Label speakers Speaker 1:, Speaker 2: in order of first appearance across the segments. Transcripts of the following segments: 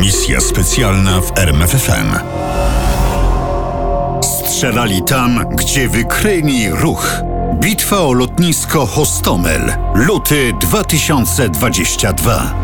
Speaker 1: Misja specjalna w RMFFM. Strzelali tam, gdzie wykryli ruch. Bitwa o lotnisko Hostomel. Luty 2022.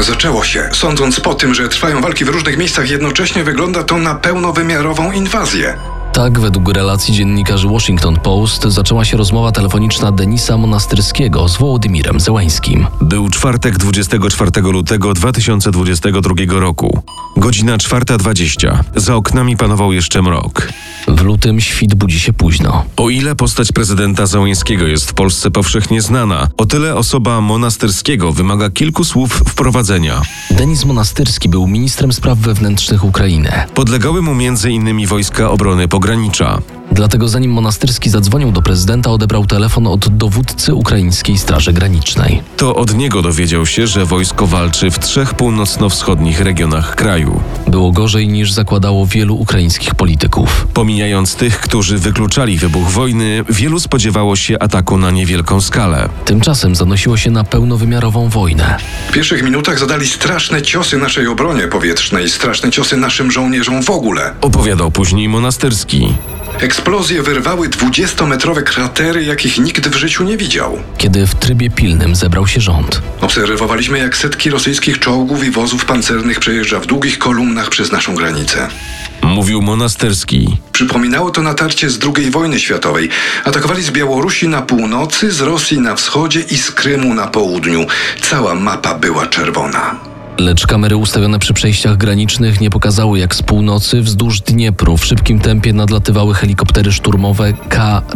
Speaker 2: Zaczęło się. Sądząc po tym, że trwają walki w różnych miejscach jednocześnie, wygląda to na pełnowymiarową inwazję.
Speaker 3: Tak, według relacji dziennikarzy Washington Post zaczęła się rozmowa telefoniczna Denisa Monastyrskiego z Wołodymirem Zełańskim.
Speaker 4: Był czwartek 24 lutego 2022 roku. Godzina 4.20. Za oknami panował jeszcze mrok.
Speaker 3: W lutym świt budzi się późno.
Speaker 4: O ile postać prezydenta Załęskiego jest w Polsce powszechnie znana, o tyle osoba Monastyrskiego wymaga kilku słów wprowadzenia.
Speaker 3: Denis Monastyrski był ministrem spraw wewnętrznych Ukrainy.
Speaker 4: Podlegały mu m.in. Wojska Obrony Pogranicza.
Speaker 3: Dlatego zanim Monastyrski zadzwonił do prezydenta, odebrał telefon od dowódcy Ukraińskiej Straży Granicznej.
Speaker 4: To od niego dowiedział się, że wojsko walczy w trzech północno-wschodnich regionach kraju.
Speaker 3: Było gorzej niż zakładało wielu ukraińskich polityków.
Speaker 4: Pomijając tych, którzy wykluczali wybuch wojny, wielu spodziewało się ataku na niewielką skalę.
Speaker 3: Tymczasem zanosiło się na pełnowymiarową wojnę.
Speaker 2: W pierwszych minutach zadali straszne ciosy naszej obronie powietrznej, straszne ciosy naszym żołnierzom w ogóle.
Speaker 4: Opowiadał później Monastyrski.
Speaker 2: Eksplozje wyrwały 20-metrowe kratery, jakich nikt w życiu nie widział.
Speaker 3: Kiedy w trybie pilnym zebrał się rząd,
Speaker 2: Obserwowaliśmy, jak setki rosyjskich czołgów i wozów pancernych przejeżdża w długich kolumnach przez naszą granicę.
Speaker 4: Mówił Monastyrski.
Speaker 2: Przypominało to natarcie z II wojny światowej. Atakowali z Białorusi na północy, z Rosji na wschodzie i z Krymu na południu. Cała mapa była czerwona.
Speaker 3: lecz kamery ustawione przy przejściach granicznych nie pokazały, jak z północy wzdłuż Dniepru w szybkim tempie nadlatywały helikoptery szturmowe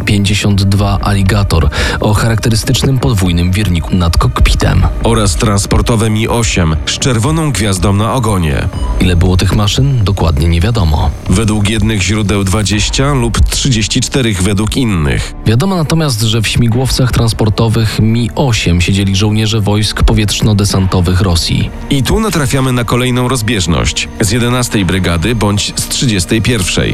Speaker 3: K-52 Alligator o charakterystycznym podwójnym wirniku nad kokpitem.
Speaker 4: Oraz transportowe Mi-8 z czerwoną gwiazdą na ogonie.
Speaker 3: Ile było tych maszyn, dokładnie nie wiadomo.
Speaker 4: Według jednych źródeł 20 lub 34 według innych.
Speaker 3: Wiadomo natomiast, że w śmigłowcach transportowych Mi-8 siedzieli żołnierze wojsk powietrzno-desantowych Rosji.
Speaker 4: I tu natrafiamy na kolejną rozbieżność z 11 brygady bądź z 31.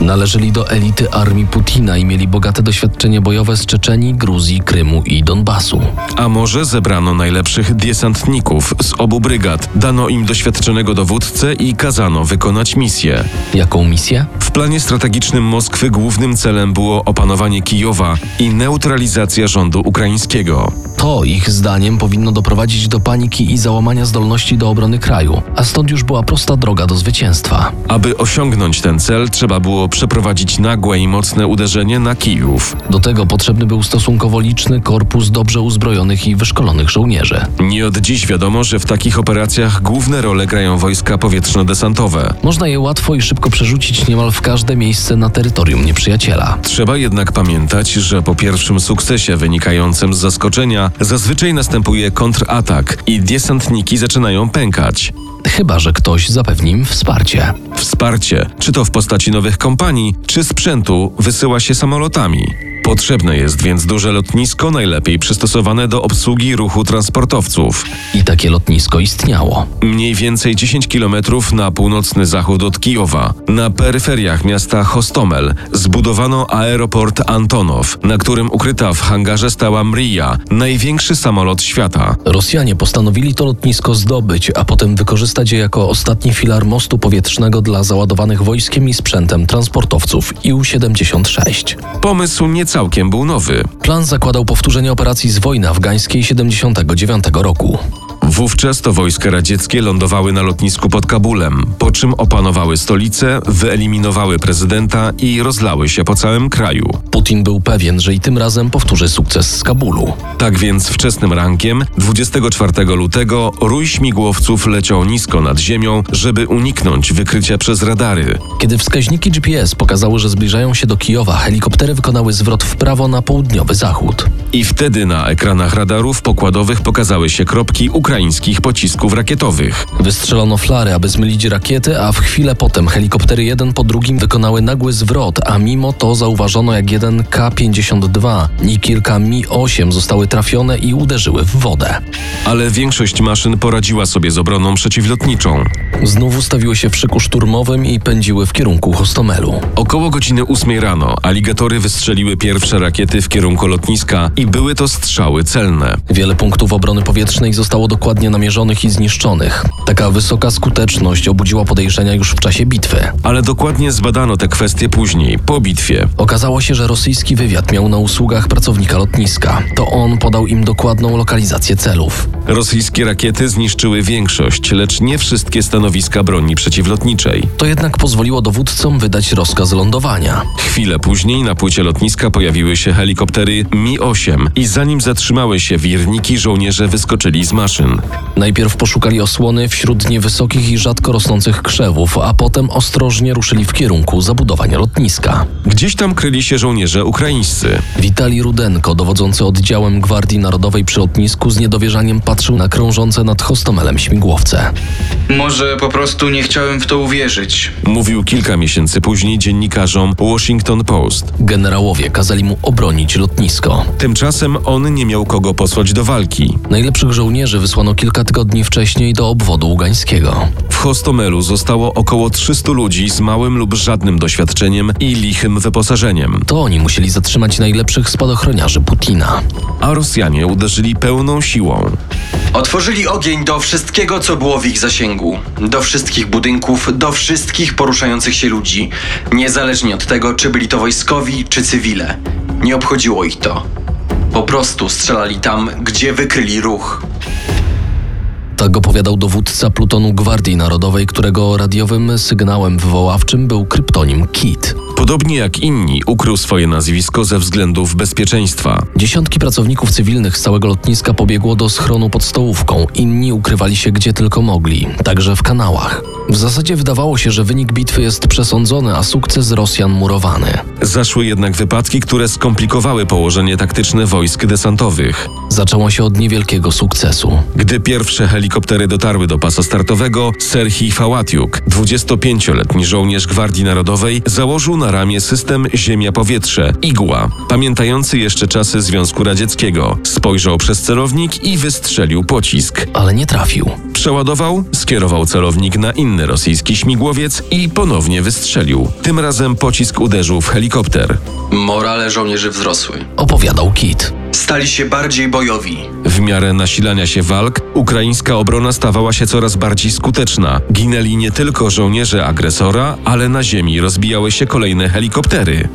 Speaker 3: Należeli do elity armii Putina i mieli bogate doświadczenie bojowe z Czeczenii, Gruzji, Krymu i Donbasu.
Speaker 4: A może zebrano najlepszych desantników z obu brygad, dano im doświadczonego dowódcę i kazano wykonać misję.
Speaker 3: Jaką misję?
Speaker 4: W planie strategicznym Moskwy głównym celem było opanowanie Kijowa i neutralizacja rządu ukraińskiego.
Speaker 3: To ich zdaniem powinno doprowadzić do paniki i załamania zdolności do obrony kraju, a stąd już była prosta droga do zwycięstwa.
Speaker 4: Aby osiągnąć ten cel, trzeba było przeprowadzić nagłe i mocne uderzenie na Kijów.
Speaker 3: Do tego potrzebny był stosunkowo liczny korpus dobrze uzbrojonych i wyszkolonych żołnierzy.
Speaker 4: Nie od dziś wiadomo, że w takich operacjach główne role grają wojska powietrzno-desantowe.
Speaker 3: Można je łatwo i szybko przerzucić niemal w każde miejsce na terytorium nieprzyjaciela.
Speaker 4: Trzeba jednak pamiętać, że po pierwszym sukcesie wynikającym z zaskoczenia zazwyczaj następuje kontratak i desantniki zaczynają pękać.
Speaker 3: Chyba, że ktoś zapewni im wsparcie.
Speaker 4: Wsparcie, czy to w postaci nowych kompanii, czy sprzętu, wysyła się samolotami. Potrzebne jest więc duże lotnisko, najlepiej przystosowane do obsługi ruchu transportowców.
Speaker 3: I takie lotnisko istniało.
Speaker 4: Mniej więcej 10 km na północny zachód od Kijowa. Na peryferiach miasta Hostomel zbudowano aeroport Antonow, na którym ukryta w hangarze stała Mrija, największy samolot świata.
Speaker 3: Rosjanie postanowili to lotnisko zdobyć, a potem wykorzystać je jako ostatni filar mostu powietrznego dla załadowanych wojskiem i sprzętem transportowców IU-76.
Speaker 4: Pomysł nie całkiem był nowy.
Speaker 3: Plan zakładał powtórzenie operacji z wojny afgańskiej 79 roku.
Speaker 4: Wówczas to wojska radzieckie lądowały na lotnisku pod Kabulem, po czym opanowały stolicę, wyeliminowały prezydenta i rozlały się po całym kraju.
Speaker 3: Putin był pewien, że i tym razem powtórzy sukces z Kabulu.
Speaker 4: Tak więc wczesnym rankiem 24 lutego rój śmigłowców leciał nisko nad ziemią, żeby uniknąć wykrycia przez radary.
Speaker 3: Kiedy wskaźniki GPS pokazały, że zbliżają się do Kijowa, helikoptery wykonały zwrot w prawo na południowy zachód.
Speaker 4: I wtedy na ekranach radarów pokładowych pokazały się kropki ukraińskich pocisków rakietowych.
Speaker 3: Wystrzelono flary, aby zmylić rakiety, a w chwilę potem helikoptery jeden po drugim wykonały nagły zwrot, a mimo to zauważono jak jeden K-52 i kilka Mi-8 zostały trafione i uderzyły w wodę.
Speaker 4: Ale większość maszyn poradziła sobie z obroną przeciwlotniczą.
Speaker 3: Znów ustawiły się w szyku szturmowym i pędziły w kierunku Hostomelu.
Speaker 4: Około godziny 8 rano aligatory wystrzeliły pierwsze rakiety w kierunku lotniska i były to strzały celne.
Speaker 3: Wiele punktów obrony powietrznej zostało dokładnie dokładnie namierzonych i zniszczonych. Taka wysoka skuteczność obudziła podejrzenia już w czasie bitwy.
Speaker 4: Ale dokładnie zbadano te kwestie później, po bitwie.
Speaker 3: Okazało się, że rosyjski wywiad miał na usługach pracownika lotniska. To on podał im dokładną lokalizację celów.
Speaker 4: Rosyjskie rakiety zniszczyły większość, lecz nie wszystkie stanowiska broni przeciwlotniczej.
Speaker 3: To jednak pozwoliło dowódcom wydać rozkaz lądowania.
Speaker 4: Chwilę później na płycie lotniska pojawiły się helikoptery Mi-8 i zanim zatrzymały się wirniki, żołnierze wyskoczyli z maszyn.
Speaker 3: Najpierw poszukali osłony wśród niewysokich i rzadko rosnących krzewów, a potem ostrożnie ruszyli w kierunku zabudowań lotniska.
Speaker 4: Gdzieś tam kryli się żołnierze ukraińscy.
Speaker 3: Witali Rudenko, dowodzący oddziałem Gwardii Narodowej przy lotnisku, z niedowierzaniem patrzył na krążące nad Chostomelem śmigłowce.
Speaker 5: Może po prostu nie chciałem w to uwierzyć.
Speaker 4: Mówił kilka miesięcy później dziennikarzom Washington Post.
Speaker 3: Generałowie kazali mu obronić lotnisko.
Speaker 4: Tymczasem on nie miał kogo posłać do walki.
Speaker 3: Najlepszych żołnierzy wysłano kilka tygodni wcześniej do obwodu ługańskiego.
Speaker 4: W Hostomelu zostało około 300 ludzi z małym lub żadnym doświadczeniem i lichym wyposażeniem.
Speaker 3: To oni musieli zatrzymać najlepszych spadochroniarzy Putina.
Speaker 4: a Rosjanie uderzyli pełną siłą.
Speaker 6: Otworzyli ogień do wszystkiego, co było w ich zasięgu. Do wszystkich budynków, do wszystkich poruszających się ludzi. Niezależnie od tego, czy byli to wojskowi, czy cywile. Nie obchodziło ich to. Po prostu strzelali tam, gdzie wykryli ruch.
Speaker 3: Tak opowiadał dowódca plutonu Gwardii Narodowej, którego radiowym sygnałem wywoławczym był kryptonim KIT.
Speaker 4: Podobnie jak inni, ukrył swoje nazwisko ze względów bezpieczeństwa.
Speaker 3: Dziesiątki pracowników cywilnych z całego lotniska pobiegło do schronu pod stołówką, inni ukrywali się gdzie tylko mogli, także w kanałach. W zasadzie wydawało się, że wynik bitwy jest przesądzony, a sukces Rosjan murowany.
Speaker 4: Zaszły jednak wypadki, które skomplikowały położenie taktyczne wojsk desantowych.
Speaker 3: Zaczęło się od niewielkiego sukcesu.
Speaker 4: Gdy pierwsze helikoptery dotarły do pasa startowego, Serhii Fałatiuk, 25-letni żołnierz Gwardii Narodowej, założył na ramię system Ziemia-Powietrze, Igła, pamiętający jeszcze czasy Związku Radzieckiego. Spojrzał przez celownik i wystrzelił pocisk.
Speaker 3: Ale nie trafił.
Speaker 4: Przeładował, skierował celownik na inny rosyjski śmigłowiec i ponownie wystrzelił. Tym razem pocisk uderzył w helikopter.
Speaker 6: Morale żołnierzy wzrosły.
Speaker 3: Opowiadał Kit.
Speaker 6: Stali się bardziej bojowi.
Speaker 4: W miarę nasilania się walk, ukraińska obrona stawała się coraz bardziej skuteczna. Ginęli nie tylko żołnierze agresora, ale na ziemi rozbijały się kolejne helikoptery.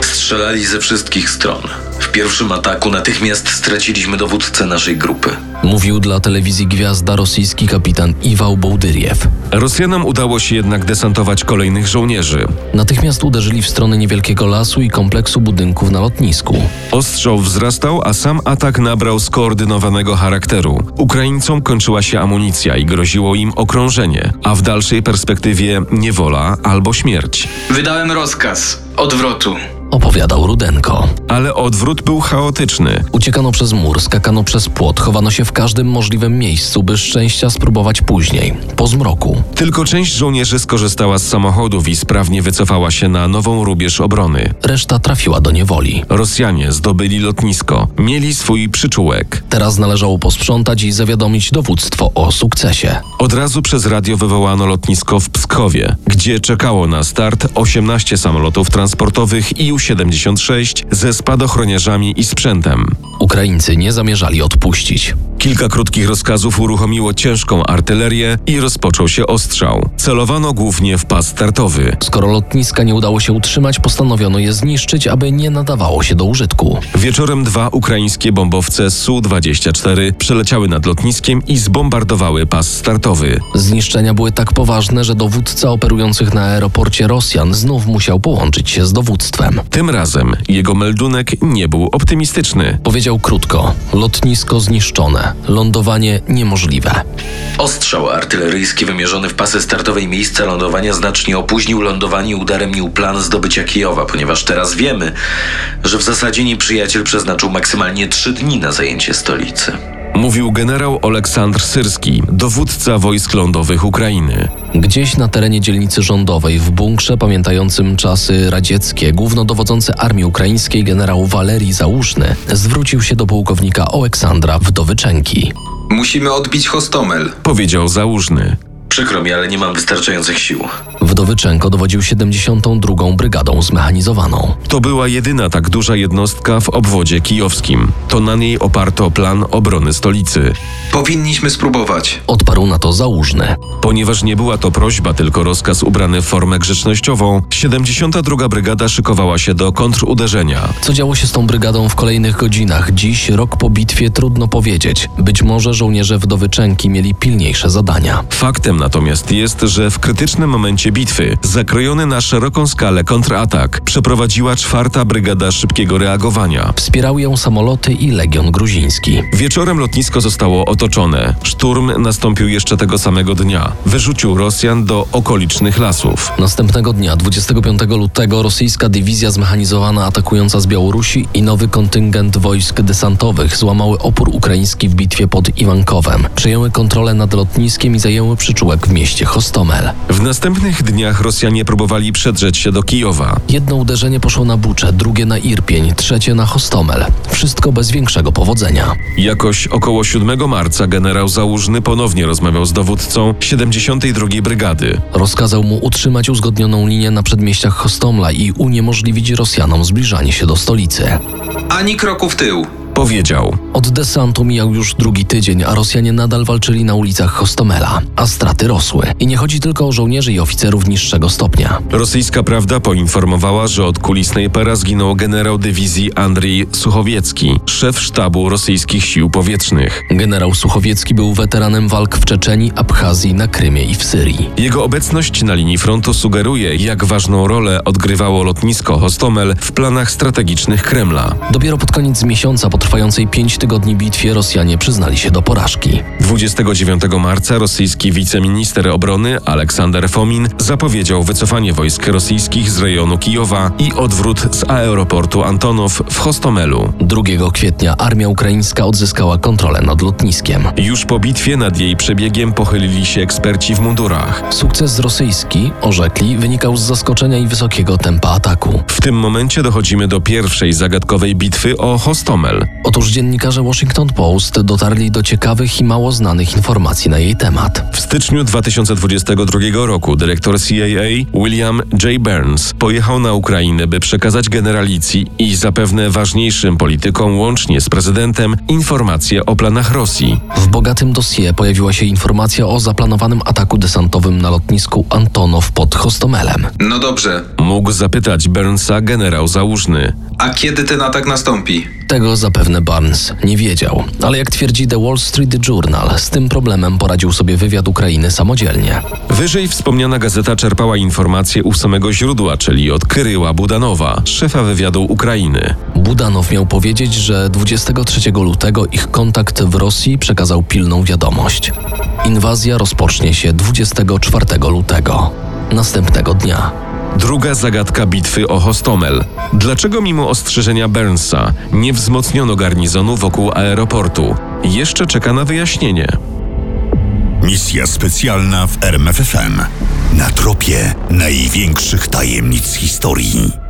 Speaker 7: Strzelali ze wszystkich stron. W pierwszym ataku natychmiast straciliśmy dowódcę naszej grupy.
Speaker 3: Mówił dla telewizji Gwiazda rosyjski kapitan Iwał Bołdyriew.
Speaker 4: Rosjanom udało się jednak desantować kolejnych żołnierzy.
Speaker 3: Natychmiast uderzyli w stronę niewielkiego lasu i kompleksu budynków na lotnisku.
Speaker 4: Ostrzał wzrastał, a sam atak nabrał skoordynowanego charakteru. Ukraińcom kończyła się amunicja i groziło im okrążenie, a w dalszej perspektywie niewola albo śmierć.
Speaker 5: Wydałem rozkaz odwrotu.
Speaker 3: Opowiadał Rudenko.
Speaker 4: Ale odwrót był chaotyczny.
Speaker 3: Uciekano przez mur, skakano przez płot, chowano się w każdym możliwym miejscu, by szczęścia spróbować później, po zmroku.
Speaker 4: Tylko część żołnierzy skorzystała z samochodów i sprawnie wycofała się na nową rubież obrony.
Speaker 3: Reszta trafiła do niewoli.
Speaker 4: Rosjanie zdobyli lotnisko, mieli swój przyczółek.
Speaker 3: Teraz należało posprzątać i zawiadomić dowództwo o sukcesie.
Speaker 4: Od razu przez radio wywołano lotnisko w Pskowie, gdzie czekało na start 18 samolotów transportowych IU-76 ze spadochroniarzami i sprzętem.
Speaker 3: Ukraińcy nie zamierzali odpuścić.
Speaker 4: Kilka krótkich rozkazów uruchomiło ciężką artylerię i rozpoczął się ostrzał. Celowano głównie w pas startowy.
Speaker 3: Skoro lotniska nie udało się utrzymać, postanowiono je zniszczyć, aby nie nadawało się do użytku.
Speaker 4: Wieczorem dwa ukraińskie bombowce Su-24 przeleciały nad lotniskiem i zbombardowały pas startowy.
Speaker 3: Zniszczenia były tak poważne, że dowódca operujących na aeroporcie Rosjan znów musiał połączyć się z dowództwem.
Speaker 4: Tym razem jego meldunek nie był optymistyczny.
Speaker 3: Powiedział krótko: lotnisko zniszczone, lądowanie niemożliwe.
Speaker 7: Ostrzał artyleryjski wymierzony w pasy startowej miejsca lądowania znacznie opóźnił lądowanie i udaremnił plan zdobycia Kijowa, ponieważ teraz wiemy, że w zasadzie nieprzyjaciel przeznaczył maksymalnie trzy dni na zajęcie stolicy.
Speaker 4: Mówił generał Aleksandr Syrski, dowódca wojsk lądowych Ukrainy.
Speaker 3: Gdzieś na terenie dzielnicy rządowej, w bunkrze pamiętającym czasy radzieckie, głównodowodzący armii ukraińskiej generał Walerii Załóżny zwrócił się do pułkownika Aleksandra Wdowyczenki.
Speaker 5: Musimy odbić Hostomel.
Speaker 4: Powiedział Załużny.
Speaker 7: Przykro mi, ale nie mam wystarczających sił.
Speaker 3: Wdowyczenko dowodził 72. Brygadą Zmechanizowaną.
Speaker 4: To była jedyna tak duża jednostka w obwodzie kijowskim. To na niej oparto plan obrony stolicy.
Speaker 5: Powinniśmy spróbować.
Speaker 3: Odparł na to Załóżny.
Speaker 4: Ponieważ nie była to prośba, tylko rozkaz ubrany w formę grzecznościową, 72. Brygada szykowała się do kontruderzenia.
Speaker 3: Co działo się z tą brygadą w kolejnych godzinach? Dziś, rok po bitwie, trudno powiedzieć. Być może żołnierze Wdowyczenki mieli pilniejsze zadania.
Speaker 4: Faktem natomiast jest, że w krytycznym momencie bitwy, zakrojony na szeroką skalę kontratak, przeprowadziła czwarta brygada szybkiego reagowania.
Speaker 3: Wspierały ją samoloty i Legion Gruziński.
Speaker 4: Wieczorem lotnisko zostało otoczone. Szturm nastąpił jeszcze tego samego dnia. Wyrzucił Rosjan do okolicznych lasów.
Speaker 3: Następnego dnia, 25 lutego, rosyjska dywizja zmechanizowana atakująca z Białorusi i nowy kontyngent wojsk desantowych złamały opór ukraiński w bitwie pod Iwankowem. Przejęły kontrolę nad lotniskiem i zajęły przyczółek w mieście Hostomel.
Speaker 4: W następnych dniach Rosjanie próbowali przedrzeć się do Kijowa.
Speaker 3: Jedno uderzenie poszło na Buczę, drugie na Irpień, trzecie na Hostomel. Wszystko bez większego powodzenia.
Speaker 4: Jakoś około 7 marca generał Załużny ponownie rozmawiał z dowódcą 72. Brygady.
Speaker 3: Rozkazał mu utrzymać uzgodnioną linię na przedmieściach Hostomla i uniemożliwić Rosjanom zbliżanie się do stolicy.
Speaker 5: Ani kroku w tył.
Speaker 4: Powiedział:
Speaker 3: Od desantu mijał już drugi tydzień, a Rosjanie nadal walczyli na ulicach Hostomela, a straty rosły. I nie chodzi tylko o żołnierzy i oficerów niższego stopnia.
Speaker 4: Rosyjska prawda poinformowała, że od kuli snajpera zginął generał dywizji Andrzej Suchowiecki, szef sztabu rosyjskich sił powietrznych.
Speaker 3: Generał Suchowiecki był weteranem walk w Czeczeni, Abchazji, na Krymie i w Syrii.
Speaker 4: Jego obecność na linii frontu sugeruje, jak ważną rolę odgrywało lotnisko Hostomel w planach strategicznych Kremla.
Speaker 3: Dopiero pod koniec miesiąca po trwającej 5 tygodni bitwie Rosjanie przyznali się do porażki.
Speaker 4: 29 marca rosyjski wiceminister obrony Aleksander Fomin zapowiedział wycofanie wojsk rosyjskich z rejonu Kijowa i odwrót z aeroportu Antonow w Hostomelu.
Speaker 3: 2 kwietnia armia ukraińska odzyskała kontrolę nad lotniskiem.
Speaker 4: Już po bitwie nad jej przebiegiem pochylili się eksperci w mundurach.
Speaker 3: Sukces rosyjski, orzekli, wynikał z zaskoczenia i wysokiego tempa ataku.
Speaker 4: W tym momencie dochodzimy do pierwszej zagadkowej bitwy o Hostomel.
Speaker 3: Otóż dziennikarze Washington Post dotarli do ciekawych i mało znanych informacji na jej temat.
Speaker 4: W styczniu 2022 roku dyrektor CIA William J. Burns pojechał na Ukrainę, by przekazać generalicji i zapewne ważniejszym politykom, łącznie z prezydentem, informacje o planach Rosji.
Speaker 3: W bogatym dossier pojawiła się informacja o zaplanowanym ataku desantowym na lotnisku Antonow pod Hostomelem.
Speaker 5: No dobrze.
Speaker 4: Mógł zapytać Burnsa generał Załużny.
Speaker 5: A kiedy ten atak nastąpi?
Speaker 3: Tego zapewne Barnes nie wiedział, ale jak twierdzi The Wall Street Journal, z tym problemem poradził sobie wywiad Ukrainy samodzielnie.
Speaker 4: Wyżej wspomniana gazeta czerpała informacje u samego źródła, czyli od Kryła Budanowa, szefa wywiadu Ukrainy.
Speaker 3: Budanow miał powiedzieć, że 23 lutego ich kontakt w Rosji przekazał pilną wiadomość. Inwazja rozpocznie się 24 lutego, następnego dnia.
Speaker 4: Druga zagadka bitwy o Hostomel. Dlaczego mimo ostrzeżenia Burnsa nie wzmocniono garnizonu wokół aeroportu? Jeszcze czeka na wyjaśnienie.
Speaker 1: Misja specjalna w RMFFM. Na tropie największych tajemnic historii.